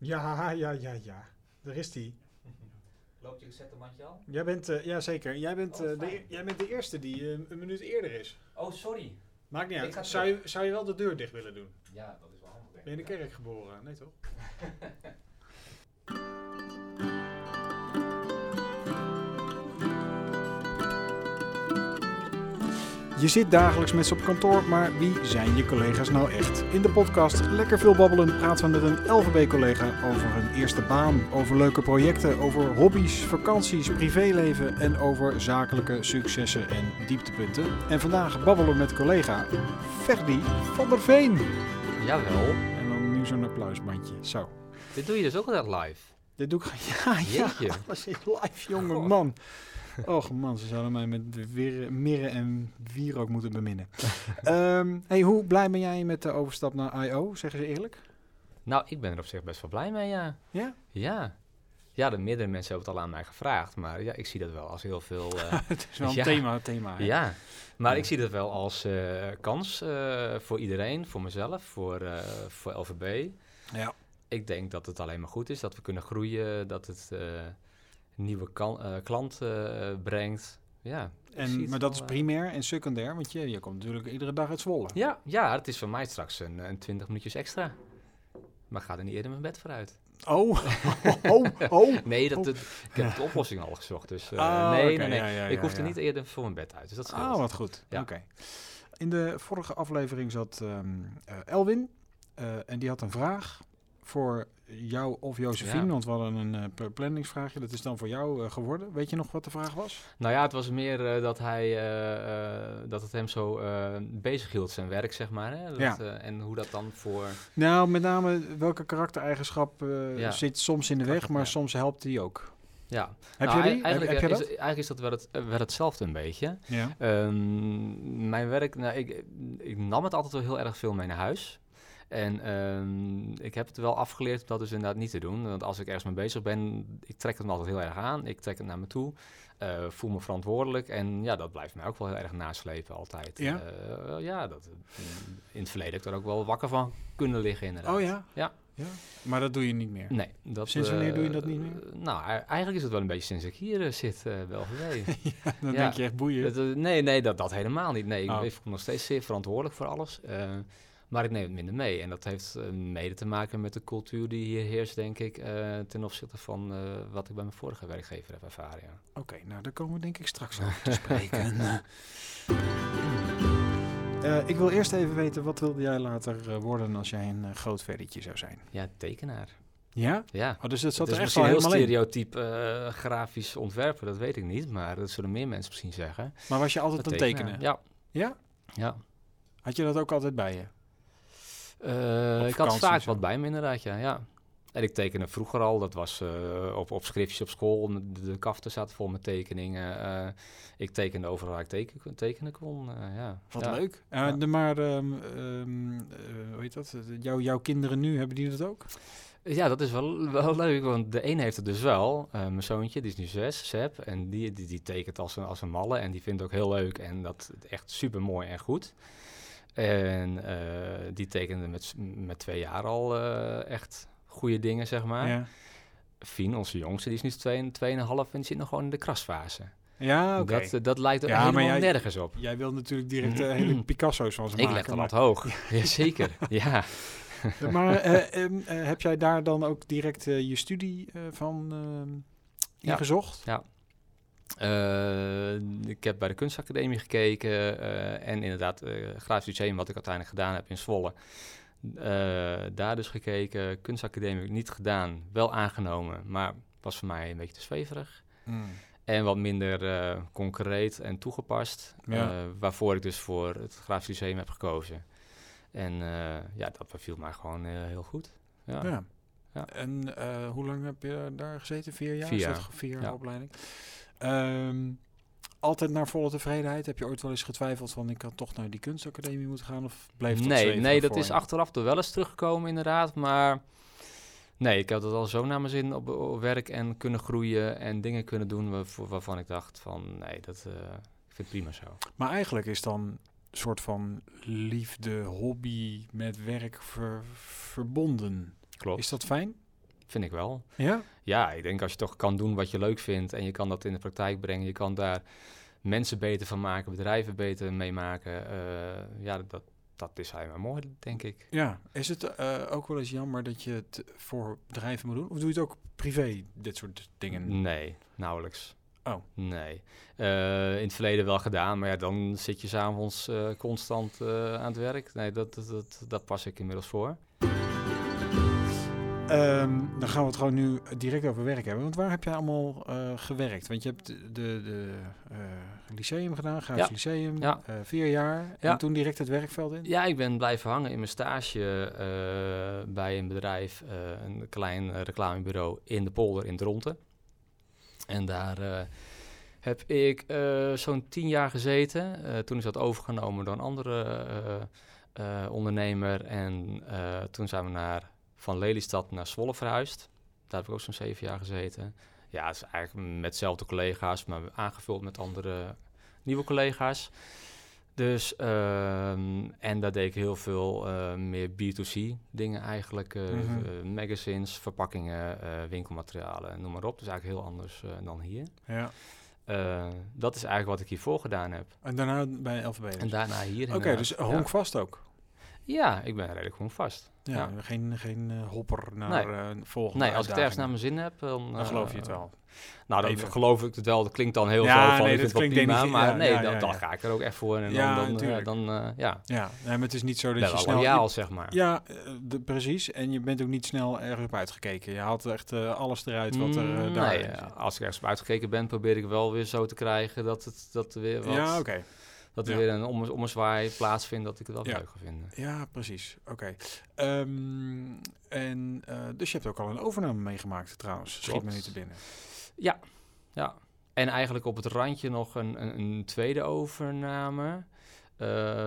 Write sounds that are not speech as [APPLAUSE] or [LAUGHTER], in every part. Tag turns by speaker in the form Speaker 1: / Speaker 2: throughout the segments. Speaker 1: Ja, ja, ja, ja. Daar is die.
Speaker 2: Loopt je mandje al?
Speaker 1: Jij bent, eh ja zeker, jij bent,
Speaker 2: Oh,
Speaker 1: eh, de,
Speaker 2: fijn.
Speaker 1: e- jij bent de eerste die eh, een minuut eerder is.
Speaker 2: Oh, sorry.
Speaker 1: Maakt niet
Speaker 2: Ik
Speaker 1: uit.
Speaker 2: ga
Speaker 1: Zou je, zou je wel de deur dicht willen doen?
Speaker 2: Ja, dat is wel handig. denk
Speaker 1: Ben je in
Speaker 2: ik,
Speaker 1: de
Speaker 2: ja.
Speaker 1: kerk geboren? Nee toch? Je zit dagelijks met ze op kantoor, maar wie zijn je collega's nou echt? In de podcast Lekker Veel Babbelen praten we met een LVB-collega over hun eerste baan, over leuke projecten, over hobby's, vakanties, privéleven en over zakelijke successen en dieptepunten. En vandaag babbelen we met collega Ferdi van der Veen.
Speaker 2: Jawel.
Speaker 1: En dan nu zo'n applausbandje. Zo.
Speaker 2: Dit doe je dus ook altijd live.
Speaker 1: Dit doe ik gewoon. [LAUGHS] Ja, ja.
Speaker 2: Jeetje.
Speaker 1: Alles is live, jonge man. Och man, ze zouden mij met weer, mirren en wierook moeten
Speaker 2: [LAUGHS]
Speaker 1: beminnen. Ehm, hey, hoe blij ben jij met de overstap naar I.O., zeggen ze eerlijk?
Speaker 2: Nou, ik ben er op zich best wel blij mee, ja.
Speaker 1: Ja? [LAUGHS]
Speaker 2: Ja. Ja, de meerdere mensen hebben het al aan mij gevraagd, maar ja, ik zie dat wel als heel veel...
Speaker 1: [LAUGHS]
Speaker 2: eh,
Speaker 1: Het is wel een
Speaker 2: Ja.
Speaker 1: thema. thema hè?
Speaker 2: ja, maar
Speaker 1: Ja.
Speaker 2: ik zie dat wel als eh, kans eh, voor iedereen, voor mezelf, voor, eh, voor LVB.
Speaker 1: Ja.
Speaker 2: Ik denk dat het alleen maar goed is, dat we kunnen groeien, dat het eh, nieuwe kan- eh, klanten eh, brengt. Ja, ik zie
Speaker 1: En,
Speaker 2: het
Speaker 1: maar dat
Speaker 2: wel,
Speaker 1: is
Speaker 2: eh,
Speaker 1: primair en secundair, want je, je komt natuurlijk iedere dag uit Zwolle.
Speaker 2: Ja, ja, het is voor mij straks een, een 20 minuutjes extra. Maar ga er niet eerder mijn bed vooruit.
Speaker 1: Oh, [LAUGHS] oh, oh.
Speaker 2: Nee, dat, dat- ik heb
Speaker 1: [LAUGHS]
Speaker 2: de oplossing al gezocht. Dus eh,
Speaker 1: Ah,
Speaker 2: nee,
Speaker 1: oké,
Speaker 2: nee, nee,
Speaker 1: ja, ja,
Speaker 2: ik
Speaker 1: ja,
Speaker 2: hoef er
Speaker 1: ja.
Speaker 2: niet eerder voor mijn bed uit. Dus dat scheelt.
Speaker 1: Ah, wat goed.
Speaker 2: Ja.
Speaker 1: Oké. In de vorige aflevering zat ehm, eh, Elwin eh, en die had een vraag voor jou of Josephine,
Speaker 2: Ja.
Speaker 1: want we hadden een eh, pl- planningsvraagje. Dat is dan voor jou eh, geworden. Weet je nog wat de vraag was?
Speaker 2: Nou ja, het was meer eh, dat hij eh, eh, dat het hem zo eh bezig hield, zijn werk, zeg maar. Hè? Dat,
Speaker 1: Ja.
Speaker 2: eh, en hoe dat dan voor.
Speaker 1: Nou, met name welke karaktereigenschap eh,
Speaker 2: Ja.
Speaker 1: zit soms in de weg,
Speaker 2: Karakter,
Speaker 1: maar
Speaker 2: ja.
Speaker 1: soms helpt die ook.
Speaker 2: Ja.
Speaker 1: Heb
Speaker 2: Nou,
Speaker 1: je
Speaker 2: ei-
Speaker 1: die? Heb, heb
Speaker 2: Eigenlijk,
Speaker 1: je
Speaker 2: eh,
Speaker 1: dat?
Speaker 2: is, eigenlijk is dat wel, het, eh, wel hetzelfde een beetje.
Speaker 1: ja.
Speaker 2: Ehm, mijn werk, nou, ik, ik nam het altijd wel heel erg veel mee naar huis. En ehm, ik heb het wel afgeleerd om dat dus inderdaad niet te doen. Want als ik ergens mee bezig ben, ik trek het me altijd heel erg aan. Ik trek het naar me toe, eh, voel me verantwoordelijk. En ja, dat blijft mij ook wel heel erg naslepen altijd.
Speaker 1: Ja?
Speaker 2: Eh, ja, dat, in het verleden heb ik er ook wel wakker van kunnen liggen inderdaad.
Speaker 1: Oh ja?
Speaker 2: Ja.
Speaker 1: ja. Maar dat doe je
Speaker 2: [LAUGHS]
Speaker 1: niet meer.
Speaker 2: Nee, dat,
Speaker 1: Sinds wanneer doe je dat
Speaker 2: eh,
Speaker 1: niet meer?
Speaker 2: nou, e- eigenlijk is het wel een beetje sinds ik hier eh, zit eh, wel geweest.
Speaker 1: dan
Speaker 2: ja.
Speaker 1: denk je echt boeien.
Speaker 2: Dat, eh, nee, nee dat, dat helemaal niet. Nee, ik,
Speaker 1: Oh.
Speaker 2: ik voel me nog steeds zeer verantwoordelijk voor alles. eh, maar ik neem het minder mee. En dat heeft eh, mede te maken met de cultuur die hier heerst, denk ik, eh, ten opzichte van eh, wat ik bij mijn vorige werkgever heb ervaren. Ja.
Speaker 1: Oké, nou daar komen we denk ik straks over te spreken.
Speaker 2: [LAUGHS]
Speaker 1: Eh, ik wil eerst even weten, wat wilde jij later eh, worden als jij een eh, groot verdertje zou zijn?
Speaker 2: ja, tekenaar.
Speaker 1: Ja?
Speaker 2: Ja.
Speaker 1: Oh, dus dat zat
Speaker 2: Dat is
Speaker 1: er echt
Speaker 2: misschien
Speaker 1: al
Speaker 2: heel
Speaker 1: helemaal in.
Speaker 2: stereotyp eh, grafisch ontwerpen, dat weet ik niet. Maar dat zullen meer mensen misschien zeggen.
Speaker 1: Maar was je altijd aan
Speaker 2: Dat nou,
Speaker 1: het tekenen?
Speaker 2: Ja.
Speaker 1: Ja?
Speaker 2: Ja.
Speaker 1: Had je dat ook altijd bij je?
Speaker 2: Eh, ik had
Speaker 1: vakantie
Speaker 2: vaak
Speaker 1: of zo.
Speaker 2: wat bij me inderdaad, ja. ja. En ik tekende vroeger al, dat was eh, op, op schriftjes op school. De, de kaften zaten vol met tekeningen. eh, ik tekende overal waar ik teken, tekenen kon. eh, ja.
Speaker 1: Wat
Speaker 2: Ja.
Speaker 1: leuk. Eh,
Speaker 2: Ja.
Speaker 1: de, maar, ehm, ehm, eh, hoe heet dat? Eh, Jouw, jouw kinderen nu, hebben die dat ook?
Speaker 2: Ja, dat is wel, wel leuk, want de een heeft het dus wel. Eh, mijn zoontje, die is nu zes, Seb, en die, die, die tekent als een, als een malle en die vindt het ook heel leuk en dat echt super mooi en goed. En eh, die tekende met, s- met twee jaar al eh, echt goede dingen, zeg maar.
Speaker 1: Ja,
Speaker 2: Fien, onze jongste, die is nu 2,5 en die zit nog gewoon in de krasfase.
Speaker 1: ja oké.
Speaker 2: dat, eh, dat lijkt er
Speaker 1: Ja, maar
Speaker 2: helemaal
Speaker 1: jij-
Speaker 2: nergens op.
Speaker 1: jij wil natuurlijk direct
Speaker 2: [CLEARS THROAT]
Speaker 1: eh, hele Picasso's van ze
Speaker 2: Ik
Speaker 1: maken.
Speaker 2: leg de
Speaker 1: maar-
Speaker 2: lat hoog. [LAUGHS] Jazeker, ja.
Speaker 1: Maar eh, em, eh, heb jij daar dan ook direct eh, je studie eh, van ehm
Speaker 2: Ja.
Speaker 1: ingezocht?
Speaker 2: Eh, ik heb bij de kunstacademie gekeken eh, en inderdaad eh Graafs Lyceum, wat ik uiteindelijk gedaan heb in Zwolle. Eh, daar dus gekeken, kunstacademie heb ik niet gedaan, wel aangenomen, maar was voor mij een beetje te zweverig. En wat minder eh, concreet en toegepast.
Speaker 1: Ja.
Speaker 2: eh, waarvoor ik dus voor het Graafs Lyceum heb gekozen. En eh, ja, dat beviel mij gewoon eh, heel goed. Ja.
Speaker 1: Ja.
Speaker 2: Ja.
Speaker 1: En eh, hoe lang heb je daar gezeten? Vier jaar?
Speaker 2: Vier
Speaker 1: Is dat
Speaker 2: jaar.
Speaker 1: ge- vier jaar
Speaker 2: Ja.
Speaker 1: opleiding. Ehm, altijd naar volle tevredenheid. Heb je ooit wel eens getwijfeld van ik had toch naar die kunstacademie moeten gaan? Of bleef dat
Speaker 2: nee,
Speaker 1: zweven
Speaker 2: nee, dat
Speaker 1: voor
Speaker 2: is
Speaker 1: je?
Speaker 2: achteraf er wel eens teruggekomen inderdaad. Maar nee, ik had het al zo naar mijn zin op, op werk en kunnen groeien en dingen kunnen doen waarvoor- waarvan ik dacht van nee, dat eh, ik vind het prima zo.
Speaker 1: Maar eigenlijk is dan een soort van liefde, hobby met werk ver- verbonden.
Speaker 2: Klopt.
Speaker 1: Is dat fijn?
Speaker 2: vind ik wel.
Speaker 1: Ja?
Speaker 2: Ja, ik denk als je toch kan doen wat je leuk vindt en je kan dat in de praktijk brengen, je kan daar mensen beter van maken, bedrijven beter mee maken. eh, ja, dat, dat is hij maar mooi, denk ik.
Speaker 1: Ja. Is het eh, ook wel eens jammer dat je het voor bedrijven moet doen? Of doe je het ook privé, dit soort dingen?
Speaker 2: Nee, nauwelijks.
Speaker 1: Oh.
Speaker 2: Nee. Eh, in het verleden wel gedaan, maar ja, dan zit je s'avonds eh constant eh, aan het werk. Nee, dat, dat, dat, dat pas ik inmiddels voor.
Speaker 1: Ehm, dan gaan we het gewoon nu direct over werk hebben. Want waar heb jij allemaal eh, gewerkt? Want je hebt de, de eh, lyceum gedaan, Graafs
Speaker 2: Ja.
Speaker 1: Lyceum,
Speaker 2: Ja.
Speaker 1: eh, vier jaar.
Speaker 2: Ja.
Speaker 1: En toen direct het werkveld in?
Speaker 2: Ja, ik ben blijven hangen in mijn stage eh, bij een bedrijf, eh, een klein eh, reclamebureau in de polder in Dronten. En daar eh, heb ik eh, zo'n tien jaar gezeten. Eh, toen is dat overgenomen door een andere eh, eh, ondernemer. En eh, toen zijn we naar, van Lelystad naar Zwolle verhuisd. Daar heb ik ook zo'n zeven jaar gezeten. Ja, het is eigenlijk met dezelfde collega's, maar aangevuld met andere nieuwe collega's. Dus, ehm, en daar deed ik heel veel eh, meer B2C dingen eigenlijk. eh,
Speaker 1: Mhm.
Speaker 2: eh, magazines, verpakkingen, eh, winkelmaterialen, noem maar op. Dus eigenlijk heel anders eh, dan hier.
Speaker 1: Ja.
Speaker 2: Eh, dat is eigenlijk wat ik hiervoor gedaan heb.
Speaker 1: En daarna bij LVB. dus.
Speaker 2: En daarna hier
Speaker 1: Oké,
Speaker 2: inderdaad.
Speaker 1: dus
Speaker 2: Ja.
Speaker 1: honkvast ook.
Speaker 2: Ja, ik ben redelijk gewoon vast.
Speaker 1: Ja, Geen, geen eh, hopper naar
Speaker 2: Nee.
Speaker 1: eh, volgende
Speaker 2: Nee, als ik het ergens naar
Speaker 1: uitdagingen.
Speaker 2: mijn zin heb, dan...
Speaker 1: Dan
Speaker 2: eh,
Speaker 1: geloof je het wel.
Speaker 2: Nou, dan
Speaker 1: Even.
Speaker 2: geloof ik het wel. Dat klinkt dan heel
Speaker 1: Ja,
Speaker 2: zo van,
Speaker 1: nee,
Speaker 2: ik vind
Speaker 1: dat
Speaker 2: het wel
Speaker 1: klinkt
Speaker 2: prima,
Speaker 1: denigrerend.
Speaker 2: maar
Speaker 1: Ja,
Speaker 2: nee,
Speaker 1: ja,
Speaker 2: dan,
Speaker 1: ja,
Speaker 2: dan
Speaker 1: ja.
Speaker 2: ga ik er ook echt voor. En
Speaker 1: Ja,
Speaker 2: dan, dan, eh,
Speaker 1: natuurlijk.
Speaker 2: dan eh, ja,
Speaker 1: Ja, nee, maar het is niet zo dat
Speaker 2: ben
Speaker 1: je
Speaker 2: wel
Speaker 1: snel... je-
Speaker 2: loyaal, zeg maar.
Speaker 1: Ja, eh, de, precies. En je bent ook niet snel erg op uitgekeken. Je haalt echt eh, alles eruit wat er eh,
Speaker 2: Mm,
Speaker 1: daar
Speaker 2: nee, eh, als ik ergens op uitgekeken ben, probeer ik wel weer zo te krijgen dat, het, dat er weer, wat,
Speaker 1: Ja, oké.
Speaker 2: dat er
Speaker 1: ja.
Speaker 2: weer een omme- ommezwaai plaatsvindt dat ik het wel
Speaker 1: Ja.
Speaker 2: leuk ga vinden.
Speaker 1: Ja, precies. Oké. Ehm, en eh, dus je hebt ook al een overname meegemaakt trouwens. Schiet me
Speaker 2: Klopt.
Speaker 1: nu te binnen.
Speaker 2: Ja, en eigenlijk op het randje nog een, een, een tweede overname. eh,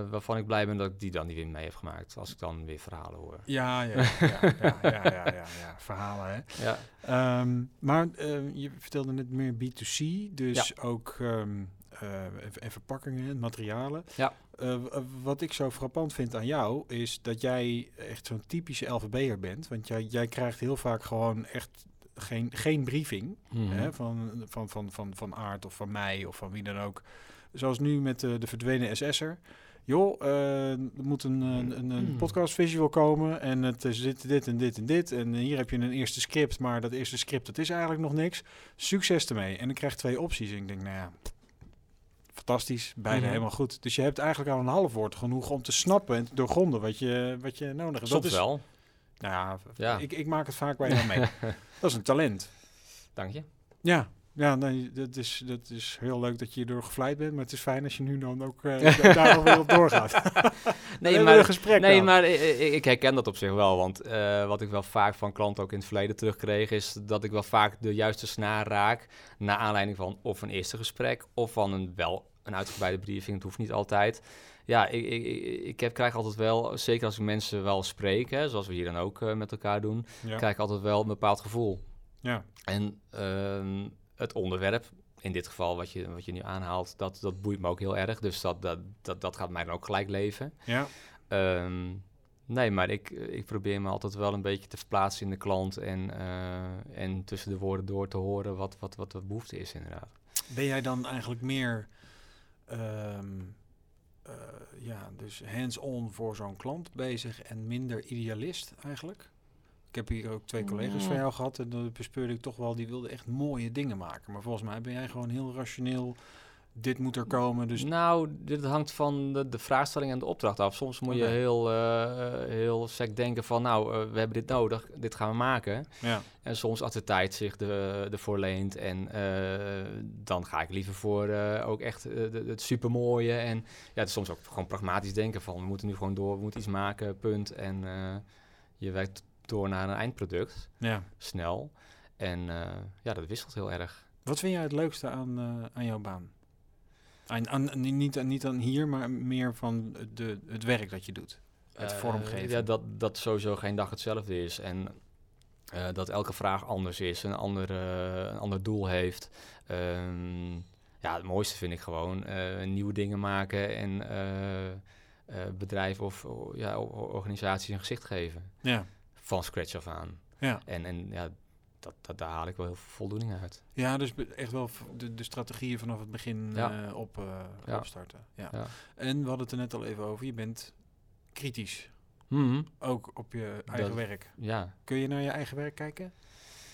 Speaker 2: waarvan ik blij ben dat ik die dan niet weer mee heb gemaakt. Als ik dan weer verhalen hoor.
Speaker 1: Ja, ja, ja, ja, ja, ja, ja, ja. verhalen hè.
Speaker 2: Ja,
Speaker 1: Ehm, maar eh, je vertelde net meer B2C, dus ook ehm, eh, en- en verpakkingen, en materialen.
Speaker 2: Ja.
Speaker 1: Eh, w- eh, wat ik zo frappant vind aan jou is dat jij echt zo'n typische LVB'er bent. Want jij, jij krijgt heel vaak gewoon echt geen, geen briefing.
Speaker 2: Mhm. Mm-hmm.
Speaker 1: hè, van, van, van, van, van Aard of van mij of van wie dan ook. Zoals nu met eh, de verdwenen SS'er. Joh, eh, er moet een, een, een, een
Speaker 2: Hmm.
Speaker 1: podcast visual komen en het is dit, dit en dit en dit. En eh, hier heb je een eerste script, maar dat eerste script dat is eigenlijk nog niks. Succes ermee. En ik krijg twee opties. En ik denk, nou ja, fantastisch, beide
Speaker 2: Mhm.
Speaker 1: helemaal goed. Dus je hebt eigenlijk al een half woord genoeg om te snappen en te doorgronden wat je, wat je nodig hebt.
Speaker 2: Soms
Speaker 1: dat is,
Speaker 2: wel.
Speaker 1: Nou ja,
Speaker 2: Ja.
Speaker 1: Ik, ik maak het vaak bij
Speaker 2: [LAUGHS]
Speaker 1: jou mee. dat is een talent.
Speaker 2: Dank je.
Speaker 1: Ja, ja nee, dat, is, dat is heel leuk dat je hierdoor gevleid bent. Maar het is fijn als je nu dan ook
Speaker 2: [LAUGHS]
Speaker 1: eh daar nog weer op doorgaat.
Speaker 2: Nee,
Speaker 1: Hebben we een
Speaker 2: maar,
Speaker 1: gesprek
Speaker 2: nee,
Speaker 1: dan.
Speaker 2: maar ik, ik- ik herken dat op zich wel. Want eh, wat ik wel vaak van klanten ook in het verleden terugkreeg... is dat ik wel vaak de juiste snaar raak... naar aanleiding van of een eerste gesprek... of van een wel een uitgebreide briefing. Het hoeft niet altijd. Ja, ik, ik, ik- ik heb, krijg altijd wel... zeker als ik mensen wel spreek... Hè, zoals we hier dan ook eh, met elkaar doen...
Speaker 1: Ja.
Speaker 2: krijg ik altijd wel een bepaald gevoel.
Speaker 1: Ja.
Speaker 2: En ehm, het onderwerp, in dit geval wat je, wat je nu aanhaalt, dat, dat boeit me ook heel erg. Dus dat, dat, dat, dat gaat mij dan ook gelijk leven.
Speaker 1: Ja.
Speaker 2: Ehm, nee, maar ik, eh, ik probeer me altijd wel een beetje te verplaatsen in de klant en, eh, en tussen de woorden door te horen wat, wat, wat de behoefte is inderdaad.
Speaker 1: Ben jij dan eigenlijk meer ehm, eh, ja, dus hands-on voor zo'n klant bezig en minder idealist eigenlijk? Ik heb hier ook twee collega's van
Speaker 2: Ja.
Speaker 1: jou gehad en dan bespeurde ik toch wel, die wilden echt mooie dingen maken. Maar volgens mij ben jij gewoon heel rationeel, dit moet er komen, dus
Speaker 2: Nou, dit hangt van de, de vraagstelling en de opdracht af. Soms moet je
Speaker 1: Oké.
Speaker 2: heel, eh, eh, heel sec denken van, nou, eh, we hebben dit nodig, dit gaan we maken.
Speaker 1: ja.
Speaker 2: En soms als de tijd zich de, ervoor leent. En eh, dan ga ik liever voor eh, ook echt eh, de- het supermooie. En ja, het is soms ook gewoon pragmatisch denken van... we moeten nu gewoon door, we moeten iets maken, punt. En eh, je werkt door naar een eindproduct,
Speaker 1: ja.
Speaker 2: snel. En eh, ja, dat wisselt heel erg.
Speaker 1: Wat vind jij het leukste aan, eh, aan jouw baan? Aan, aan, aan- niet, aan, niet aan hier, maar meer van de, het werk dat je doet. Het
Speaker 2: Eh,
Speaker 1: vormgeven.
Speaker 2: Ja, dat, dat sowieso geen dag hetzelfde is. En eh, dat elke vraag anders is, een, andere, een ander doel heeft. Ehm, ja, het mooiste vind ik gewoon eh, nieuwe dingen maken en eh, eh, bedrijven of o- ja, o- organisaties een gezicht geven.
Speaker 1: Ja,
Speaker 2: Van scratch af aan.
Speaker 1: Ja.
Speaker 2: En, en ja, dat, dat, daar haal ik wel heel veel voldoening uit.
Speaker 1: Ja, dus be- echt wel v- de, de strategieën vanaf het begin
Speaker 2: Ja.
Speaker 1: eh, op, eh,
Speaker 2: Ja.
Speaker 1: opstarten. Ja.
Speaker 2: Ja.
Speaker 1: En we hadden het er net al even over. Je bent kritisch, ook op je eigen
Speaker 2: Dat-
Speaker 1: werk.
Speaker 2: Ja,
Speaker 1: Kun je naar je eigen werk kijken?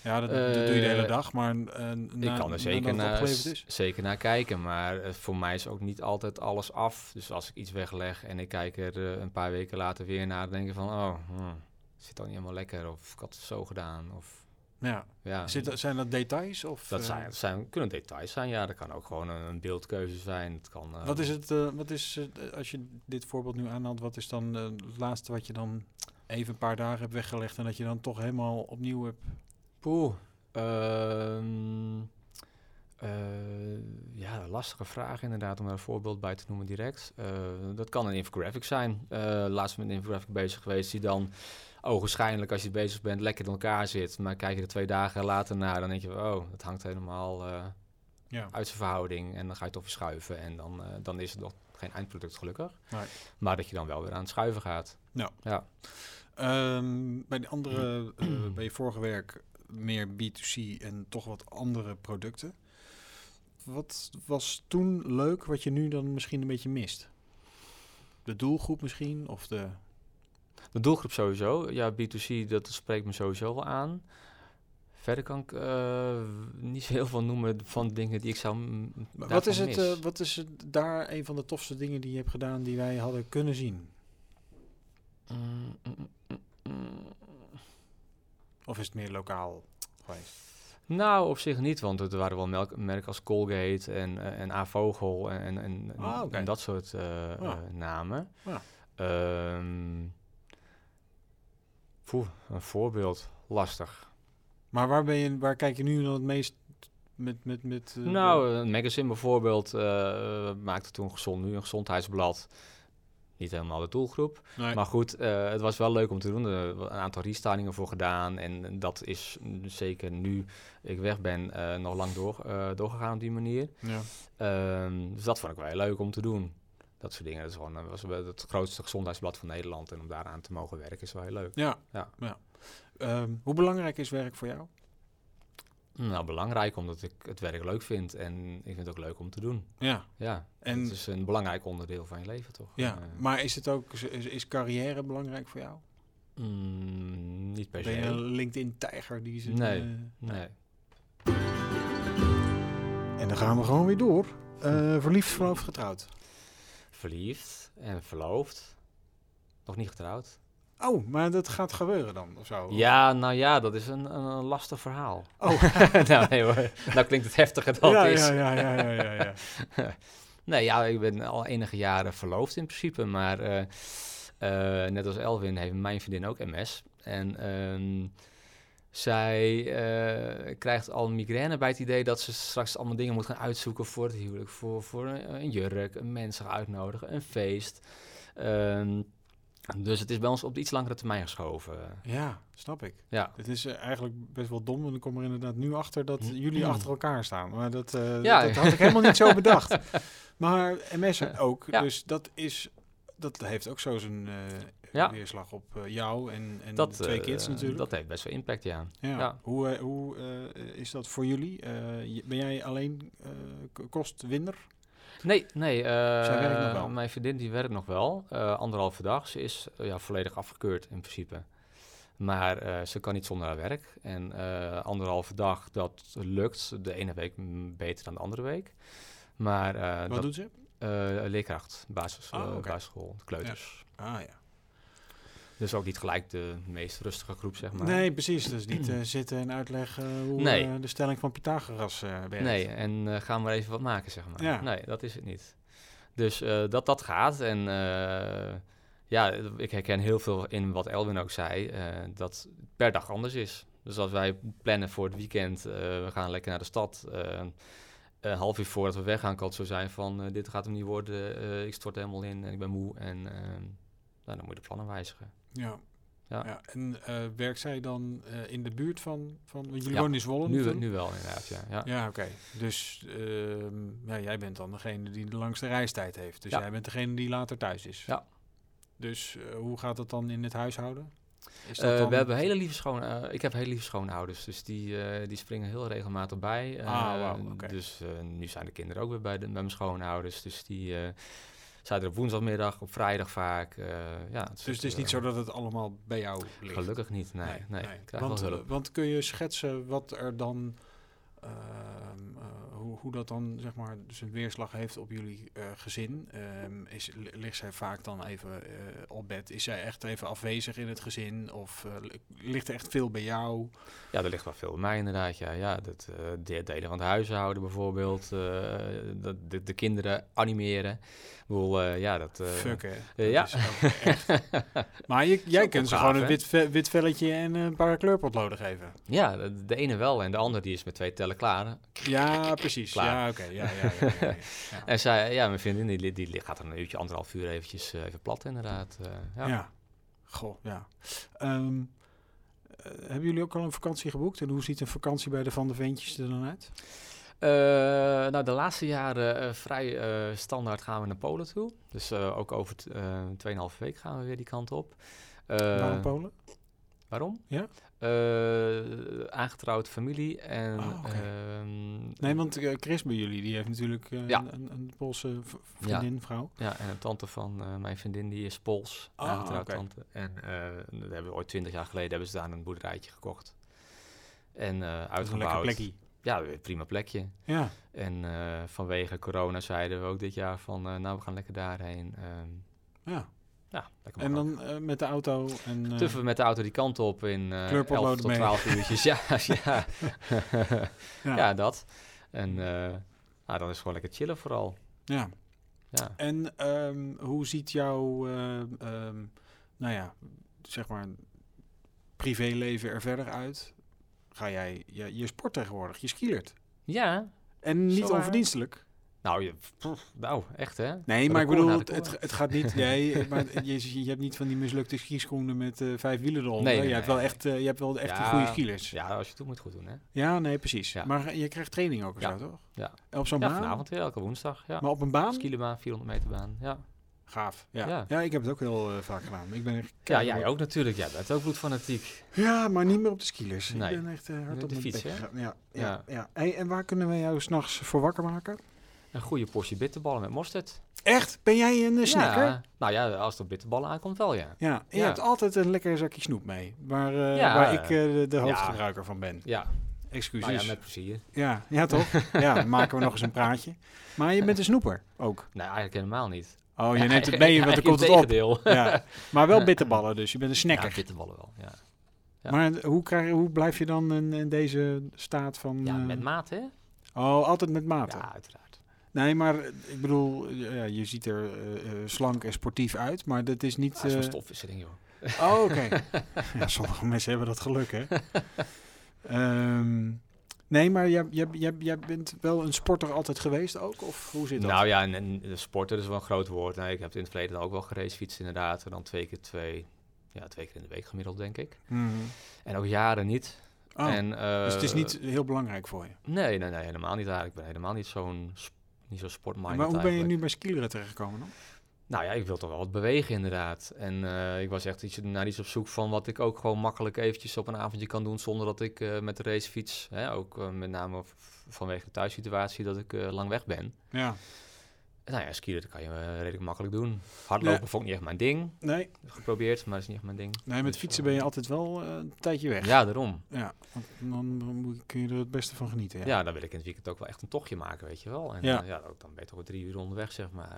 Speaker 1: Ja, dat, dat doe je de
Speaker 2: Eh,
Speaker 1: hele dag, maar eh, na-
Speaker 2: ik kan er zeker
Speaker 1: nadat het
Speaker 2: naar,
Speaker 1: opgeleverd is.
Speaker 2: z- zeker naar kijken, maar eh, voor mij is ook niet altijd alles af. Dus als ik iets wegleg en ik kijk er eh, een paar weken later weer naar, dan denk ik van, oh, hmm, zit dan niet helemaal lekker, of ik had het zo gedaan, of
Speaker 1: Ja.
Speaker 2: ja.
Speaker 1: Zit, dat- zijn dat details? Of,
Speaker 2: dat
Speaker 1: eh,
Speaker 2: zijn, dat zijn, kunnen details zijn, ja. Dat kan ook gewoon een, een beeldkeuze zijn. Het kan, eh,
Speaker 1: Wat is het, eh, wat is, eh, als je dit voorbeeld nu aanhaalt, wat is dan eh, het laatste wat je dan even een paar dagen hebt weggelegd en dat je dan toch helemaal opnieuw hebt?
Speaker 2: Poeh. Ehm, eh, ja, lastige vraag inderdaad om daar een voorbeeld bij te noemen direct. Eh, dat kan een infographic zijn. Eh laatst met een infographic bezig geweest die dan ogenschijnlijk als je bezig bent lekker in elkaar zit. Maar kijk je er twee dagen later naar, dan denk je, oh, dat hangt helemaal eh,
Speaker 1: Ja.
Speaker 2: uit zijn verhouding. En dan ga je toch verschuiven en dan, eh, dan is het nog geen eindproduct gelukkig.
Speaker 1: Nee.
Speaker 2: Maar dat je dan wel weer aan het schuiven gaat.
Speaker 1: Ehm, bij de andere, [CLEARS THROAT] eh, bij je vorige werk meer B2C en toch wat andere producten. Wat was toen leuk, wat je nu dan misschien een beetje mist? De doelgroep misschien, of de...
Speaker 2: De doelgroep sowieso. Ja, B2C, dat spreekt me sowieso wel aan. Verder kan ik eh, niet zo heel veel noemen van dingen die ik zou... mm,
Speaker 1: Maar wat
Speaker 2: daarvan
Speaker 1: is, het,
Speaker 2: mis.
Speaker 1: eh, wat is het daar een van de tofste dingen die je hebt gedaan die wij hadden kunnen zien?
Speaker 2: Mm, mm, mm, mm.
Speaker 1: Of is het meer lokaal geweest?
Speaker 2: Nou, op zich niet, want er waren wel melk- merken als Colgate en, eh, en A-Vogel en, en, en,
Speaker 1: Ah, oké.
Speaker 2: en dat soort eh, eh, namen.
Speaker 1: Ja.
Speaker 2: Ehm, poeh, een voorbeeld. Lastig.
Speaker 1: Maar waar, ben je, waar kijk je nu dan het meest met... met, met eh,
Speaker 2: Nou,
Speaker 1: de-
Speaker 2: een magazine bijvoorbeeld eh, maakte toen gezond, nu een gezondheidsblad. Niet helemaal de doelgroep.
Speaker 1: Nee.
Speaker 2: Maar goed, eh, het was wel leuk om te doen. Er hebben een aantal restylingen voor gedaan. En dat is mm, zeker nu ik weg ben eh, nog lang door, eh, doorgegaan op die manier.
Speaker 1: ja.
Speaker 2: Ehm, dus dat vond ik wel heel leuk om te doen. Dat soort dingen. Dat is gewoon, eh, was wel het grootste gezondheidsblad van Nederland. En om daaraan te mogen werken is wel heel leuk.
Speaker 1: Ja.
Speaker 2: Ja.
Speaker 1: Ehm, hoe belangrijk is werk voor jou?
Speaker 2: Nou, belangrijk omdat ik het werk leuk vind. En ik vind het ook leuk om te doen.
Speaker 1: Ja.
Speaker 2: Ja,
Speaker 1: En,
Speaker 2: het is een belangrijk onderdeel van je leven, toch?
Speaker 1: Mm. ja.
Speaker 2: Eh,
Speaker 1: Maar is het ook, is, is carrière belangrijk voor jou?
Speaker 2: Mm, niet per
Speaker 1: Ben je
Speaker 2: se.
Speaker 1: een LinkedIn-tijger die eh, ze...
Speaker 2: Nee. Nee.
Speaker 1: En dan gaan we gewoon weer door. Eh, verliefd, verloofd, getrouwd.
Speaker 2: Verliefd en verloofd. Nog niet getrouwd.
Speaker 1: Oh, maar dat gaat gebeuren dan, of zo?
Speaker 2: Ja, nou ja, dat is een, een, een lastig verhaal.
Speaker 1: Oh.
Speaker 2: [LAUGHS] nou, nee, hoor. nou klinkt het heftiger dan
Speaker 1: ja,
Speaker 2: het is.
Speaker 1: ja, ja, ja, ja, ja, ja.
Speaker 2: Nee, ja, ik ben al enige jaren verloofd in principe. Maar eh, eh, net als Elwin heeft mijn vriendin ook MS. En ehm, zij eh, krijgt al migraine bij het idee dat ze straks allemaal dingen moet gaan uitzoeken voor het huwelijk. Voor, voor een, een jurk, een mensen gaan uitnodigen, een feest. Ehm, dus het is bij ons op de iets langere termijn geschoven.
Speaker 1: Ja, snap ik.
Speaker 2: Ja.
Speaker 1: Het is eh, eigenlijk best wel dom, want ik kom er inderdaad nu achter dat jullie achter elkaar staan. Maar dat, eh,
Speaker 2: Hm. Ja.
Speaker 1: dat had ik helemaal niet
Speaker 2: [LAUGHS]
Speaker 1: zo bedacht. Maar MS ook,
Speaker 2: Ja.
Speaker 1: dus dat is... Dat heeft ook zo zijn eh,
Speaker 2: Ja.
Speaker 1: weerslag op eh, jou en, en
Speaker 2: Dat,
Speaker 1: de twee
Speaker 2: eh,
Speaker 1: kids natuurlijk.
Speaker 2: Dat heeft best wel impact, ja.
Speaker 1: Ja.
Speaker 2: Ja.
Speaker 1: Hoe, eh, hoe eh, is dat voor jullie? Eh, je- ben jij alleen eh, k- kostwinner?
Speaker 2: Nee, nee. eh,
Speaker 1: Zij werkt nog wel?
Speaker 2: Mijn vriendin die werkt nog wel. eh, anderhalve dag. Ze is eh, ja, volledig afgekeurd in principe. Maar eh, ze kan niet zonder haar werk. En eh, anderhalve dag, dat lukt. De ene week mm, beter dan de andere week. Maar eh,
Speaker 1: Wat
Speaker 2: dat,
Speaker 1: doet ze?
Speaker 2: eh, leerkracht, basis,
Speaker 1: Ah,
Speaker 2: eh,
Speaker 1: oké.
Speaker 2: basisschool, kleuters.
Speaker 1: Ah ja.
Speaker 2: Dus ook niet gelijk de meest rustige groep, zeg maar.
Speaker 1: Nee, precies. Dus niet
Speaker 2: [CLEARS THROAT]
Speaker 1: eh, zitten en uitleggen hoe
Speaker 2: Nee.
Speaker 1: eh, de stelling van Pythagoras eh werkt.
Speaker 2: Nee, en eh, gaan we maar even wat maken, zeg maar.
Speaker 1: Ja.
Speaker 2: Nee, dat is het niet. Dus eh, dat dat gaat. En eh, ja, ik herken heel veel in wat Elwin ook zei, eh, dat het per dag anders is. Dus als wij plannen voor het weekend, eh, we gaan lekker naar de stad. eh, een half uur voordat we weggaan kan het zo zijn van, eh, dit gaat hem niet worden, eh, ik stort helemaal in en ik ben moe. En eh, nou, dan moet je de plannen wijzigen.
Speaker 1: Ja. Ja.
Speaker 2: Ja.
Speaker 1: En eh, werkt zij dan eh, in de buurt van... van want jullie
Speaker 2: Ja.
Speaker 1: wonen in Zwolle?
Speaker 2: Nu,
Speaker 1: natuurlijk?
Speaker 2: nu wel inderdaad, ja. ja.
Speaker 1: Ja, oké. Dus ehm, ja, jij bent dan degene die de langste reistijd heeft. Dus
Speaker 2: Ja.
Speaker 1: jij bent degene die later thuis is.
Speaker 2: Ja.
Speaker 1: Dus eh, hoe gaat dat dan in het huishouden? Is dat
Speaker 2: Eh,
Speaker 1: dan-
Speaker 2: we hebben hele lieve schoon, eh, ik heb hele lieve schoonouders, dus die, eh, die springen heel regelmatig bij. Eh,
Speaker 1: Ah, wauw, oké.
Speaker 2: Dus eh, nu zijn de kinderen ook weer bij, de, bij mijn schoonouders, dus die eh, zijn er op woensdagmiddag, op vrijdag vaak. eh, ja,
Speaker 1: Dus het is niet
Speaker 2: eh,
Speaker 1: zo dat het allemaal bij jou ligt?
Speaker 2: Gelukkig niet, nee. nee, Ik krijg
Speaker 1: want,
Speaker 2: wel hulp.
Speaker 1: eh, want kun je schetsen wat er dan, ehm, eh, hoe, hoe dat dan zeg maar zijn weerslag heeft op jullie eh, gezin? Ehm, is, li- ligt zij vaak dan even eh, op bed? Is zij echt even afwezig in het gezin? Of eh, li- ligt er echt veel bij jou?
Speaker 2: Ja, er ligt wel veel bij mij inderdaad. Ja, ja dat, eh, de delen van het huishouden bijvoorbeeld. eh, dat, de, de kinderen animeren. Ik bedoel, eh, ja, dat... eh,
Speaker 1: Fuck, hè?
Speaker 2: eh,
Speaker 1: Dat is ook echt. Maar je, jij
Speaker 2: ook
Speaker 1: kunt ze
Speaker 2: gaaf,
Speaker 1: gewoon een
Speaker 2: hè?
Speaker 1: wit, ve- wit velletje en een paar kleurpotloden geven.
Speaker 2: [LAUGHS] ja, de, de ene wel en de andere die is met twee tellen klaar.
Speaker 1: Ja, precies.
Speaker 2: Klaar.
Speaker 1: Ja, oké. Ja, ja, ja, ja, ja.
Speaker 2: En zij, ja, mijn vriendin, die, li- die li- gaat er een uurtje, anderhalf uur eventjes eh, even plat inderdaad. eh, ja.
Speaker 1: Ja. Goh, ja. Ehm, eh, hebben jullie ook al een vakantie geboekt? En hoe ziet een vakantie bij de Van de Veentjes er dan uit?
Speaker 2: Eh, nou, de laatste jaren eh, vrij eh, standaard gaan we naar Polen toe. Dus eh, ook over t- eh, 2,5 week gaan we weer die kant op. Eh,
Speaker 1: Waarom Polen?
Speaker 2: Waarom?
Speaker 1: Ja?
Speaker 2: Eh, aangetrouwd familie en...
Speaker 1: Ah, oké.
Speaker 2: ehm,
Speaker 1: Nee, want eh, Chris bij jullie, die heeft natuurlijk eh,
Speaker 2: Ja.
Speaker 1: een, een Poolse v- vriendin, vrouw.
Speaker 2: Ja, en een tante van eh, mijn vriendin, die is Pools.
Speaker 1: Ah,
Speaker 2: aangetrouwd
Speaker 1: oké.
Speaker 2: tante. En eh, dat hebben we ooit twintig jaar geleden hebben ze daar een boerderijtje gekocht. En eh
Speaker 1: Dat is een lekker
Speaker 2: uitgebouwd.
Speaker 1: plekje.
Speaker 2: Ja, een prima plekje.
Speaker 1: Ja,
Speaker 2: En eh, vanwege corona zeiden we ook dit jaar van, eh, nou, we gaan lekker daarheen. Ehm,
Speaker 1: ja.
Speaker 2: ja, lekker
Speaker 1: En
Speaker 2: makkelijk.
Speaker 1: dan eh, met de auto en... eh,
Speaker 2: Tuffen we met de auto die kant op in eh 11
Speaker 1: Kleurpotloden
Speaker 2: tot
Speaker 1: mee. [LAUGHS]
Speaker 2: 12 uurtjes. Ja, [LAUGHS] ja.
Speaker 1: Ja.
Speaker 2: ja. dat. En eh, nou, dan is het gewoon lekker chillen vooral.
Speaker 1: ja.
Speaker 2: Ja.
Speaker 1: En ehm, hoe ziet jouw, ehm, ehm, nou ja, zeg maar, privéleven er verder uit? Ga jij, je, je sport tegenwoordig, je skielert.
Speaker 2: ja.
Speaker 1: En niet
Speaker 2: Zowaar.
Speaker 1: onverdienstelijk.
Speaker 2: Nou, je, pff, nou, echt hè?
Speaker 1: Nee, maar ik
Speaker 2: Record
Speaker 1: bedoel,
Speaker 2: na
Speaker 1: het,
Speaker 2: record.
Speaker 1: het- het gaat niet. Nee, [LAUGHS] maar je, je hebt niet van die mislukte skischoenen met eh, vijf wielen eronder.
Speaker 2: Nee, nee,
Speaker 1: je, hebt
Speaker 2: nee,
Speaker 1: wel echt, eh, je hebt wel echt
Speaker 2: Ja.
Speaker 1: een goede skielers. Ja.
Speaker 2: Ja, als je het doet, moet je het goed doen, hè?
Speaker 1: nee, precies.
Speaker 2: Ja.
Speaker 1: Maar je krijgt training ook en
Speaker 2: Ja.
Speaker 1: zo, toch?
Speaker 2: Ja.
Speaker 1: En Op zo'n
Speaker 2: Ja,
Speaker 1: baan?
Speaker 2: vanavond weer, elke woensdag. Ja.
Speaker 1: Maar op een baan?
Speaker 2: Skilebaan, 400 meter baan. Ja.
Speaker 1: Gaaf. Ja. Ja.
Speaker 2: Ja.
Speaker 1: ik heb het ook heel eh, vaak gedaan. Ik ben echt
Speaker 2: ja,
Speaker 1: keihard-
Speaker 2: jij ook natuurlijk. Jij bent ook bloedfanatiek.
Speaker 1: Ja, maar niet meer op de skielers.
Speaker 2: Nee.
Speaker 1: Ik ben echt eh, hard
Speaker 2: Met
Speaker 1: op
Speaker 2: de
Speaker 1: mijn
Speaker 2: fiets,
Speaker 1: bek
Speaker 2: hè?
Speaker 1: gegaan. Ja, ja. ja.
Speaker 2: Ja.
Speaker 1: Hey, en waar kunnen we jou s'nachts voor wakker maken?
Speaker 2: Een goede portie bitterballen met mosterd.
Speaker 1: Echt? Ben jij een eh, snacker? Ja.
Speaker 2: Ja. Nou ja, als er bitterballen aankomt, wel ja.
Speaker 1: en je
Speaker 2: Ja.
Speaker 1: hebt altijd een lekker zakje snoep mee, waar, eh,
Speaker 2: Ja.
Speaker 1: waar ik eh, de, de
Speaker 2: Ja.
Speaker 1: hoofdgebruiker van ben.
Speaker 2: Ja,
Speaker 1: Excuses.
Speaker 2: nou ja, met plezier.
Speaker 1: Ja, ja toch?
Speaker 2: [LAUGHS]
Speaker 1: ja, dan maken we nog eens een praatje. Maar je bent een snoeper ook.
Speaker 2: Nee, eigenlijk helemaal niet.
Speaker 1: Oh, je neemt het mee, want
Speaker 2: wat
Speaker 1: dan komt het op.
Speaker 2: Deel.
Speaker 1: Ja. Maar wel bitterballen dus, je bent een snacker.
Speaker 2: Ja, bitterballen wel, ja. ja.
Speaker 1: Maar hoe, krijg, hoe blijf je dan in, in deze staat van...
Speaker 2: Ja,
Speaker 1: eh,
Speaker 2: met maat, hè?
Speaker 1: Oh, altijd met maten.
Speaker 2: Ja, uiteraard.
Speaker 1: Nee, maar eh, ik bedoel, eh, ja, je ziet er eh, eh, slank en sportief uit, maar dat is niet...
Speaker 2: Dat is
Speaker 1: eh,
Speaker 2: een stofwisseling, joh.
Speaker 1: Oh, oké. [LAUGHS] ja, sommige mensen hebben dat geluk, hè? Ehm, nee, maar jij, jij, jij, jij bent wel een sporter altijd geweest ook? Of hoe zit dat?
Speaker 2: Nou ja, en, en de sporter is wel een groot woord. Nou, ik heb in het verleden ook wel gereisfietst inderdaad. En dan twee keer twee, ja, twee keer in de week gemiddeld, denk ik.
Speaker 1: Mhm.
Speaker 2: En ook jaren niet.
Speaker 1: Oh.
Speaker 2: en,
Speaker 1: Dus het is
Speaker 2: eh,
Speaker 1: niet heel belangrijk voor je.
Speaker 2: Nee, nee, nee, helemaal niet eigenlijk. Ik ben helemaal niet zo'n sp- niet zo sportminded
Speaker 1: maar hoe ben je
Speaker 2: eigenlijk.
Speaker 1: nu bij skileren terechtgekomen dan?
Speaker 2: Nou ja, ik wil toch wel wat bewegen inderdaad. En eh, ik was echt iets, naar iets op zoek van wat ik ook gewoon makkelijk eventjes op een avondje kan doen... zonder dat ik eh, met de racefiets, hè, ook eh, met name v- vanwege de thuissituatie, dat ik eh, lang weg ben.
Speaker 1: Ja.
Speaker 2: En Nou ja, skiën dat kan je eh, redelijk makkelijk doen. Hardlopen
Speaker 1: Ja.
Speaker 2: vond ik niet echt mijn ding.
Speaker 1: Nee,
Speaker 2: Geprobeerd, maar dat is niet echt mijn ding.
Speaker 1: nee met
Speaker 2: Dus,
Speaker 1: fietsen
Speaker 2: eh,
Speaker 1: ben je altijd wel eh, een tijdje weg.
Speaker 2: Ja, daarom.
Speaker 1: Ja, want dan moet- kun je er het beste van genieten.
Speaker 2: Ja.
Speaker 1: Ja.
Speaker 2: dan wil ik in het weekend ook wel echt een tochtje maken, weet je wel. En
Speaker 1: Ja.
Speaker 2: ja, ja ook, dan ben je toch wel drie uur onderweg, zeg maar.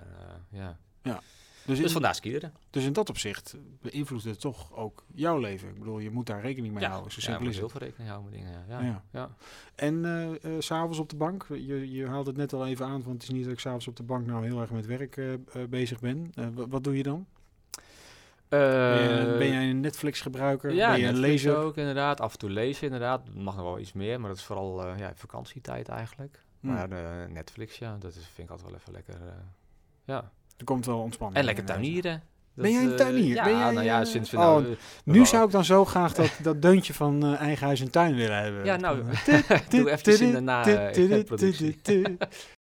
Speaker 2: eh, ja.
Speaker 1: Dus,
Speaker 2: Dus
Speaker 1: in,
Speaker 2: vandaar skiën.
Speaker 1: dus in dat opzicht beïnvloedt het toch ook jouw leven. Ik bedoel, je moet daar rekening mee houden. Zo simpel
Speaker 2: ja,
Speaker 1: is
Speaker 2: heel
Speaker 1: het.
Speaker 2: veel rekening houden met dingen, ja.
Speaker 1: Ja.
Speaker 2: ja. ja.
Speaker 1: En eh eh, 's s'avonds op de bank, je, je haalde het net al even aan, want het is niet dat ik s'avonds op de bank nou heel erg met werk eh, eh, bezig ben. Eh, wa- wat doe je dan? Ben je-
Speaker 2: Eh,
Speaker 1: ben jij een Netflix gebruiker?
Speaker 2: ja,
Speaker 1: ben je een
Speaker 2: Netflix
Speaker 1: lezer?
Speaker 2: ook inderdaad. Af en toe lezen inderdaad. Mag nog wel iets meer, maar dat is vooral eh, ja, vakantietijd eigenlijk.
Speaker 1: Hm,
Speaker 2: Maar eh, Netflix, ja, dat is, vind ik altijd wel even lekker. eh, ja.
Speaker 1: er komt wel ontspanning.
Speaker 2: En
Speaker 1: in
Speaker 2: lekker
Speaker 1: inderdaad.
Speaker 2: tuinieren.
Speaker 1: Ben jij een
Speaker 2: eh,
Speaker 1: tuinier?
Speaker 2: Ja,
Speaker 1: Ben jij,
Speaker 2: nou ja,
Speaker 1: eh,
Speaker 2: sinds we
Speaker 1: oh,
Speaker 2: nou, eh,
Speaker 1: Nu zou ik dan zo graag dat, dat deuntje van eh, eigen huis en tuin willen hebben. eh,
Speaker 2: Ja, nou,
Speaker 1: Dit,
Speaker 2: [LAUGHS] doe
Speaker 1: dit,
Speaker 2: eventjes in
Speaker 1: dit,
Speaker 2: de na-
Speaker 1: dit,
Speaker 2: eh,
Speaker 1: dit, dit,
Speaker 2: productie.
Speaker 1: dit, dit.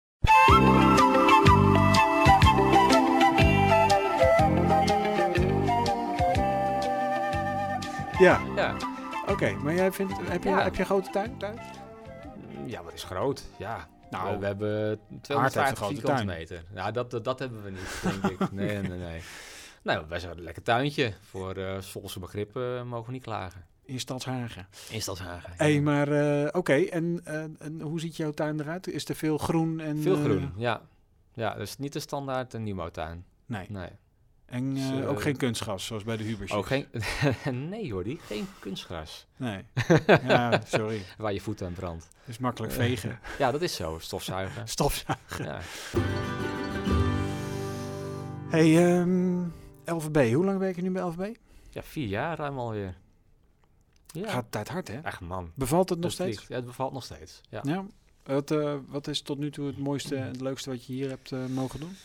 Speaker 1: Ja,
Speaker 2: Ja.
Speaker 1: oké. Maar jij vindt, heb, je,
Speaker 2: Ja.
Speaker 1: heb je een grote tuin thuis?
Speaker 2: ja, wat is groot? Ja.
Speaker 1: Nou,
Speaker 2: we, we hebben
Speaker 1: Aard heeft een
Speaker 2: 250
Speaker 1: grote
Speaker 2: vierkante
Speaker 1: tuin.
Speaker 2: meter. Nou, dat, dat, dat hebben we niet, denk ik. [LAUGHS] Nee, nee, nee. Nou, wij zijn een lekker tuintje. Voor eh Solse begrippen eh, mogen we niet klagen.
Speaker 1: In Stadshagen.
Speaker 2: In Stadshagen.
Speaker 1: Hé,
Speaker 2: ja.
Speaker 1: maar eh, oké. En, eh, en hoe ziet jouw tuin eruit? Is er veel groen? En,
Speaker 2: Veel
Speaker 1: eh,
Speaker 2: groen, ja. Ja, dus niet de standaard een nieuwbouwtuin.
Speaker 1: nee.
Speaker 2: Nee.
Speaker 1: En
Speaker 2: Dus,
Speaker 1: eh,
Speaker 2: eh,
Speaker 1: ook geen kunstgras, zoals bij de Hubersjes.
Speaker 2: Oh, geen... [LAUGHS] nee hoor, die. Geen kunstgras. [LAUGHS]
Speaker 1: Nee. ja, sorry.
Speaker 2: Waar je voeten aan brandt.
Speaker 1: Het is makkelijk vegen.
Speaker 2: Ja, dat is zo. Stofzuigen.
Speaker 1: Eh, [LAUGHS] Stofzuigen.
Speaker 2: ja.
Speaker 1: hey, ehm, LVB. Hoe lang werk je nu bij LVB?
Speaker 2: ja, vier jaar ruim alweer. Ja.
Speaker 1: Gaat de tijd hard, hè?
Speaker 2: Echt man.
Speaker 1: Bevalt het nog
Speaker 2: Dat
Speaker 1: steeds?
Speaker 2: vliegt. Ja, het bevalt nog steeds. Ja.
Speaker 1: Ja. Wat, eh, wat is tot nu toe het mooiste en het leukste wat je hier hebt eh, mogen doen?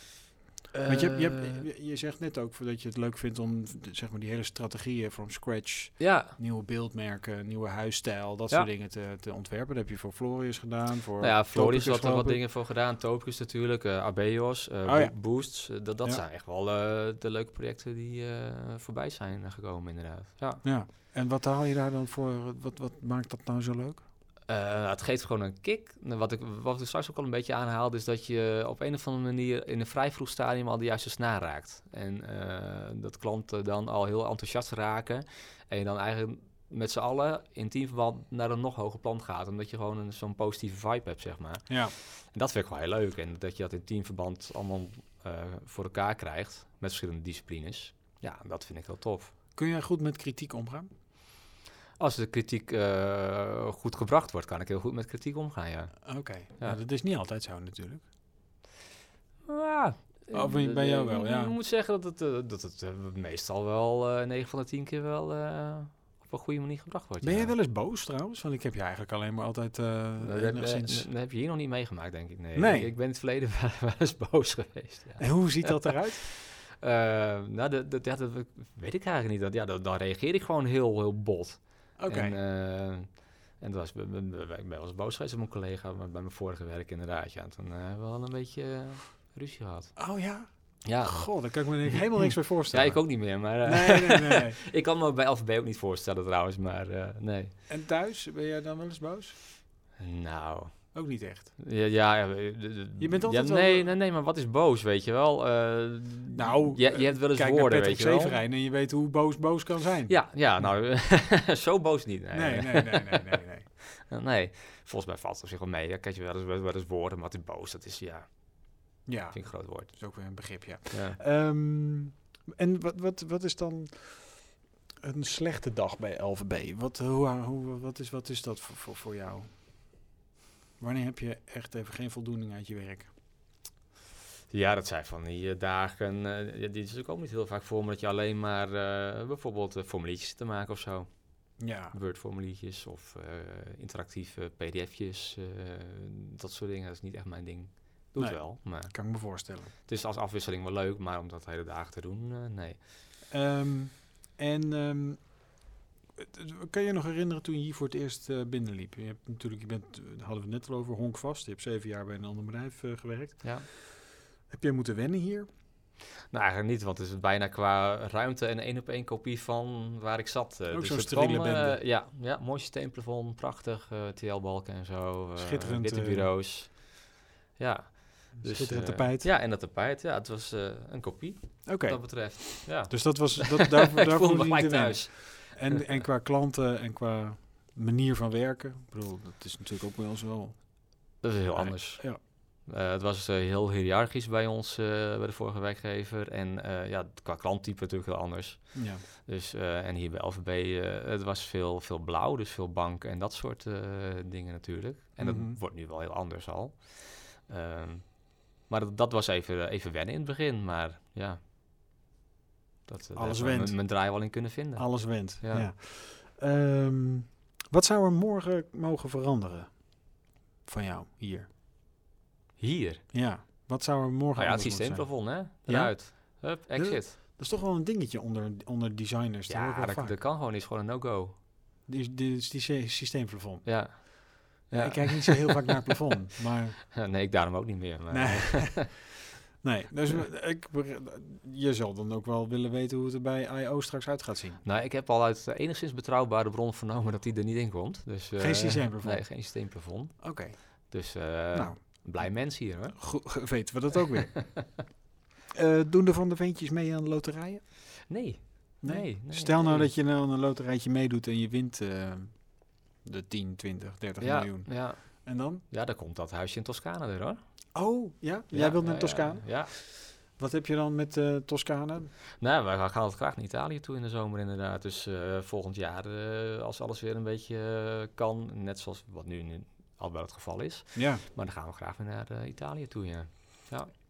Speaker 1: Eh, Want je, hebt- je,
Speaker 2: Eh.
Speaker 1: hebt- je- je zegt net ook dat je het leuk vindt om de- zeg maar, die hele strategieën from scratch,
Speaker 2: Ja,
Speaker 1: nieuwe beeldmerken, nieuwe huisstijl, dat
Speaker 2: Ja.
Speaker 1: soort dingen te, te ontwerpen. Dat heb je voor Florius gedaan. Voor
Speaker 2: nou ja, Floris
Speaker 1: Topicus,
Speaker 2: had er
Speaker 1: geloof
Speaker 2: wat
Speaker 1: ik.
Speaker 2: dingen voor gedaan. Topicus natuurlijk, eh Abeos, eh,
Speaker 1: Oh
Speaker 2: Bo-
Speaker 1: ja.
Speaker 2: Boosts. eh, dat dat
Speaker 1: Ja.
Speaker 2: zijn echt wel eh, de leuke projecten die eh, voorbij zijn eh, gekomen inderdaad. Ja.
Speaker 1: Ja. En wat haal je daar dan voor? Wat, wat maakt dat nou zo leuk?
Speaker 2: Eh, het geeft gewoon een kick. Nou, Wat ik, wat ik straks ook al een beetje aanhaalde, is dat je op een of andere manier in een vrij vroeg stadium al de juiste snaar raakt. En eh, dat klanten dan al heel enthousiast raken. En je dan eigenlijk met z'n allen in teamverband naar een nog hoger plan gaat. Omdat je gewoon een- zo'n positieve vibe hebt, zeg maar.
Speaker 1: Ja.
Speaker 2: En dat vind ik wel heel leuk. En dat je dat in teamverband allemaal eh, voor elkaar krijgt. Met verschillende disciplines. Ja, dat vind ik heel tof.
Speaker 1: Kun jij goed met kritiek omgaan?
Speaker 2: Als de kritiek eh, goed gebracht wordt, kan ik heel goed met kritiek omgaan, ja.
Speaker 1: Oké. Nou, dat is niet altijd zo natuurlijk.
Speaker 2: Ja.
Speaker 1: Oh, bij- bij jou wel, ja.
Speaker 2: Ik moet zeggen dat het, eh, dat het eh, meestal wel eh 9 van de 10 keer wel eh, op een goede manier gebracht wordt.
Speaker 1: Ben
Speaker 2: ja.
Speaker 1: jij wel eens boos trouwens? Want ik heb je eigenlijk alleen maar altijd eh
Speaker 2: Dat heb, eh,
Speaker 1: enigszins...
Speaker 2: dat heb je hier nog niet meegemaakt, denk ik. Nee.
Speaker 1: Nee.
Speaker 2: Ik, ik ben in het verleden [LAUGHS] wel, wel eens boos geweest. Ja.
Speaker 1: [LAUGHS] En hoe ziet dat eruit?
Speaker 2: Eh, nou, dat, dat, ja, dat weet ik eigenlijk niet. Dat, ja, dat, dan reageer ik gewoon heel, heel bot.
Speaker 1: Oké.
Speaker 2: En, eh, en dat was, ik ben ik ben wel eens boos geweest op mijn collega bij bij mijn vorige werk inderdaad. Ja, En toen eh, hebben we wel een beetje eh, ruzie gehad.
Speaker 1: Oh ja?
Speaker 2: Ja.
Speaker 1: God, daar kan ik me denk ik helemaal niks bij
Speaker 2: eh, ja,
Speaker 1: voorstellen.
Speaker 2: ik ook niet meer. Maar, eh,
Speaker 1: Nee, nee, nee. nee.
Speaker 2: Ik kan me bij LVB ook niet voorstellen trouwens, maar eh, nee.
Speaker 1: En thuis, ben jij dan wel eens boos?
Speaker 2: Nou,
Speaker 1: Ook niet echt.
Speaker 2: ja, ja, ja, eh, d- d-
Speaker 1: Je bent
Speaker 2: ja,
Speaker 1: altijd wel-
Speaker 2: nee, nee, nee, maar wat is boos, weet je wel? Eh,
Speaker 1: Nou,
Speaker 2: je, je hebt wel eens
Speaker 1: Kijk
Speaker 2: woorden,
Speaker 1: naar Patrick
Speaker 2: weet je wel?
Speaker 1: Severijn en je weet hoe boos boos kan zijn.
Speaker 2: Ja, ja, nou, [LAUGHS] zo boos niet. Nee,
Speaker 1: Nee, nee, nee, nee, nee. nee.
Speaker 2: Eh, [LAUGHS] nee. volgens mij valt het op zich wel mee. Ja, kijk, je wel eens, wel, wel eens woorden, maar het is boos, dat is, ja,
Speaker 1: Ja,
Speaker 2: vind ik een groot woord.
Speaker 1: dat is ook weer een begrip, ja.
Speaker 2: Ja.
Speaker 1: Ehm, en wat, wat, wat is dan een slechte dag bij LVB? Wat, hoe, hoe, wat, is, wat is dat voor, voor, voor jou? Wanneer heb je echt even geen voldoening uit je werk?
Speaker 2: Ja, dat zijn van die eh, dagen, eh, ja, die is natuurlijk ook niet heel vaak voor, maar dat je alleen maar eh, bijvoorbeeld eh, formuliertjes te maken of zo.
Speaker 1: Ja.
Speaker 2: Word-formuliertjes of eh, interactieve pdf'jes. eh, dat soort dingen, dat is niet echt mijn ding. Doe het
Speaker 1: Nee.
Speaker 2: wel, maar
Speaker 1: Kan ik me voorstellen.
Speaker 2: het is als afwisseling wel leuk, maar om dat de hele dagen te doen, eh, nee.
Speaker 1: Ehm, en ehm, het- het- kan je nog herinneren toen je hier voor het eerst eh, binnenliep? Je hebt natuurlijk, je bent, eh, daar hadden we het net al over, honkvast. Je hebt zeven jaar bij een ander bedrijf eh, gewerkt.
Speaker 2: Ja.
Speaker 1: Heb jij moeten wennen hier?
Speaker 2: Nou, eigenlijk niet, want het is bijna qua ruimte een één op één kopie van waar ik zat. eh,
Speaker 1: Ook
Speaker 2: dus
Speaker 1: zo'n
Speaker 2: het kwam,
Speaker 1: steriele
Speaker 2: eh,
Speaker 1: bende.
Speaker 2: ja, ja, mooi systeemplafond, prachtig, eh, TL-balken en zo. eh,
Speaker 1: Schitterend,
Speaker 2: Witte
Speaker 1: eh,
Speaker 2: bureaus. Ja.
Speaker 1: Dus, Schitterend
Speaker 2: eh,
Speaker 1: tapijt.
Speaker 2: Ja, en dat tapijt. Ja, het was eh, een kopie,
Speaker 1: Oké.
Speaker 2: wat dat betreft. Ja.
Speaker 1: Dus dat was, dat, daarvoor,
Speaker 2: [LAUGHS] ik
Speaker 1: daarvoor hoefde je
Speaker 2: voelde me gelijk
Speaker 1: niet te wennen.
Speaker 2: thuis.
Speaker 1: En, en qua klanten en qua manier van werken. Ik bedoel, dat is natuurlijk ook bij ons wel.
Speaker 2: Dat is heel
Speaker 1: Nee,
Speaker 2: anders.
Speaker 1: ja.
Speaker 2: Eh, het was eh, heel hiërarchisch bij ons, eh, bij de vorige werkgever. En eh, ja, qua klanttype natuurlijk heel anders.
Speaker 1: Ja.
Speaker 2: Dus, eh, en hier bij LVB, eh, het was veel, veel blauw, dus veel bank en dat soort eh, dingen natuurlijk. En
Speaker 1: Mhm.
Speaker 2: dat wordt nu wel heel anders al. Ehm, maar dat, dat was even, eh, even wennen in het begin, maar ja. Dat, eh, daar
Speaker 1: Alles
Speaker 2: heb ik mijn-
Speaker 1: went.
Speaker 2: Mijn draai wel in kunnen vinden.
Speaker 1: Alles went. Ja.
Speaker 2: Ja.
Speaker 1: Ehm, wat zou er morgen mogen veranderen van jou hier?
Speaker 2: Hier.
Speaker 1: Ja. Wat zou er morgen
Speaker 2: Nou ja,
Speaker 1: anders
Speaker 2: het
Speaker 1: moeten zijn?
Speaker 2: systeemplafond, hè? Eruit. Hup, exit.
Speaker 1: Dat is toch wel een dingetje onder, onder designers. Dat hoor ik
Speaker 2: Ja,
Speaker 1: wel
Speaker 2: dat,
Speaker 1: vaak.
Speaker 2: dat kan gewoon, is gewoon een no-go.
Speaker 1: Die, die, die, sy- systeemplafond.
Speaker 2: Ja. [LAUGHS]
Speaker 1: Ik kijk niet zo heel vaak naar het plafond, maar
Speaker 2: Ja, Nee, ik daarom ook niet meer. Maar
Speaker 1: nee. Nee, dus ik, je zal dan ook wel willen weten hoe het er bij I.O. straks uit gaat zien.
Speaker 2: [LAUGHS] Nou, ik heb al uit eh, enigszins betrouwbare bron vernomen dat die er niet in komt. Dus, eh,
Speaker 1: Geen systeemplafond?
Speaker 2: Nee, geen systeemplafond.
Speaker 1: Oké,
Speaker 2: Dus eh,
Speaker 1: nou,
Speaker 2: blij mens hier, hoor.
Speaker 1: go- ge- weten we dat ook weer. [LAUGHS] Eh, doen er van de ventjes mee aan loterijen?
Speaker 2: Nee. Nee, nee,
Speaker 1: Stel nou
Speaker 2: nee.
Speaker 1: dat je nou aan een loterijtje meedoet en je wint eh, de 10, 20, 30
Speaker 2: Ja,
Speaker 1: miljoen.
Speaker 2: ja.
Speaker 1: En dan?
Speaker 2: ja, dan komt dat huisje in Toscane weer, hoor.
Speaker 1: Oh, ja? Jij
Speaker 2: Ja,
Speaker 1: wilt naar
Speaker 2: ja,
Speaker 1: Toscane?
Speaker 2: Ja, ja.
Speaker 1: Wat heb je dan met eh Toscane?
Speaker 2: Nou, wij gaan altijd graag naar Italië toe in de zomer inderdaad. Dus eh, volgend jaar, eh, als alles weer een beetje eh, kan, net zoals wat nu, nu al wel het geval is.
Speaker 1: Ja.
Speaker 2: Maar dan gaan we graag weer naar eh, Italië toe, ja.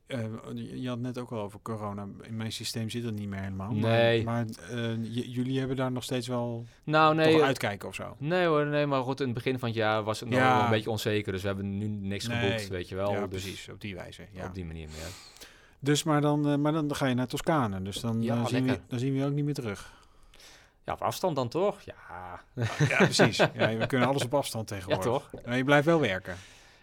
Speaker 1: Eh, je je had net ook al over corona. In mijn systeem zit dat niet meer helemaal.
Speaker 2: Nee.
Speaker 1: Maar, maar, eh, j- jullie hebben daar nog steeds wel
Speaker 2: Nou, nee.
Speaker 1: toch
Speaker 2: eh,
Speaker 1: uitkijken of zo.
Speaker 2: Nee hoor, nee, maar goed, in het begin van het jaar was het nog
Speaker 1: Ja.
Speaker 2: wel een beetje onzeker. Dus we hebben nu niks
Speaker 1: Nee.
Speaker 2: geboekt, weet je wel.
Speaker 1: ja,
Speaker 2: dus
Speaker 1: precies. Op die wijze. Ja.
Speaker 2: Op die manier meer.
Speaker 1: Dus maar dan, eh, maar dan ga je naar Toscane. Dus dan,
Speaker 2: Ja,
Speaker 1: eh, zien we,
Speaker 2: lekker.
Speaker 1: dan zien we je ook niet meer terug.
Speaker 2: Ja, op afstand dan toch? Ja,
Speaker 1: Ja, precies. Ja, we kunnen alles op afstand
Speaker 2: ja
Speaker 1: tegenwoordig.
Speaker 2: toch?
Speaker 1: Maar je blijft wel werken.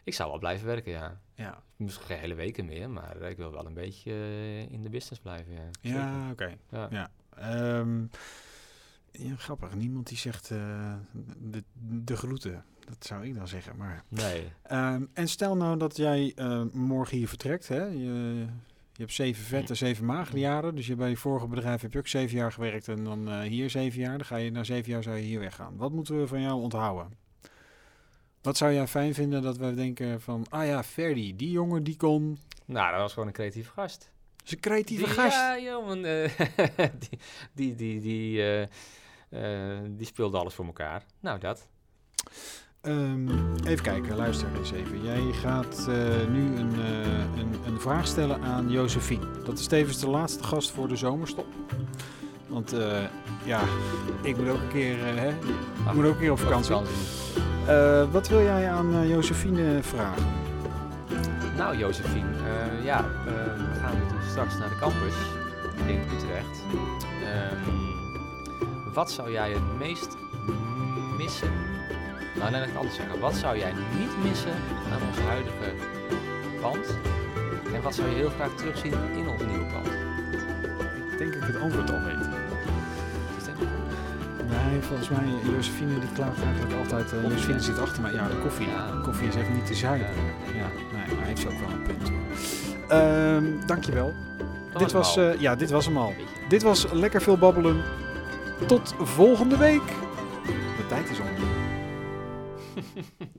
Speaker 2: Ik zou wel blijven werken, ja.
Speaker 1: Ja,
Speaker 2: Misschien geen hele weken meer, maar ik wil wel een beetje eh, in de business blijven, ja. Zeker.
Speaker 1: ja oké.
Speaker 2: Ja.
Speaker 1: Ja. Ehm, ja, grappig. Niemand die zegt eh, de, de groeten. Dat zou ik dan zeggen, maar...
Speaker 2: Nee.
Speaker 1: Ehm, en stel nou dat jij eh, morgen hier vertrekt. Hè? Je, je hebt zeven vette, zeven magere jaren. Dus je, bij je vorige bedrijf heb je ook zeven jaar gewerkt en dan eh, hier zeven jaar. Dan ga je na zeven jaar zou je hier weggaan. Wat moeten we van jou onthouden? Wat zou jij fijn vinden dat wij denken van... Ah ja, Ferdi, die jongen die kon...
Speaker 2: Nou, dat was gewoon een creatieve gast.
Speaker 1: is een creatieve
Speaker 2: Die-
Speaker 1: gast.
Speaker 2: Ja, jongen. eh, [LAUGHS] die, die, die, die, eh, eh, die speelde alles voor elkaar. Nou, dat.
Speaker 1: Ehm, even kijken, luister eens even. Jij gaat eh, nu een, eh, een, een vraag stellen aan Josephine. Dat is tevens de laatste gast voor de zomerstop. Want eh, ja, ik moet ook een keer, eh, hè, ik moet ook een keer op vakantie. Eh, wat wil jij aan eh, Josephine vragen?
Speaker 2: Nou, Josephine, eh, ja, eh, we gaan natuurlijk straks naar de campus in Utrecht. Ehm, wat zou jij het meest missen? Nou, dan ga ik het anders zeggen. Wat zou jij niet missen aan ons huidige pand? En wat zou je heel graag terugzien in ons nieuwe pand?
Speaker 1: Ik denk dat ik het antwoord al weet.
Speaker 2: Dus denk ik,
Speaker 1: Nee, volgens mij, Josephine die klaagt eigenlijk altijd. eh,
Speaker 2: Koffie,
Speaker 1: Josephine
Speaker 2: hè?
Speaker 1: zit achter mij. Ja, de koffie.
Speaker 2: Ja.
Speaker 1: Koffie is even niet te
Speaker 2: eh,
Speaker 1: zuipen.
Speaker 2: Ja.
Speaker 1: Ja, nee, maar heeft ze ook wel een punt. Ehm dankjewel.
Speaker 2: dat
Speaker 1: dit, was,
Speaker 2: hem al.
Speaker 1: eh, ja, dit was hem al.
Speaker 2: Een beetje.
Speaker 1: Dit was Lekker Veel Babbelen. Tot volgende week. De tijd is om.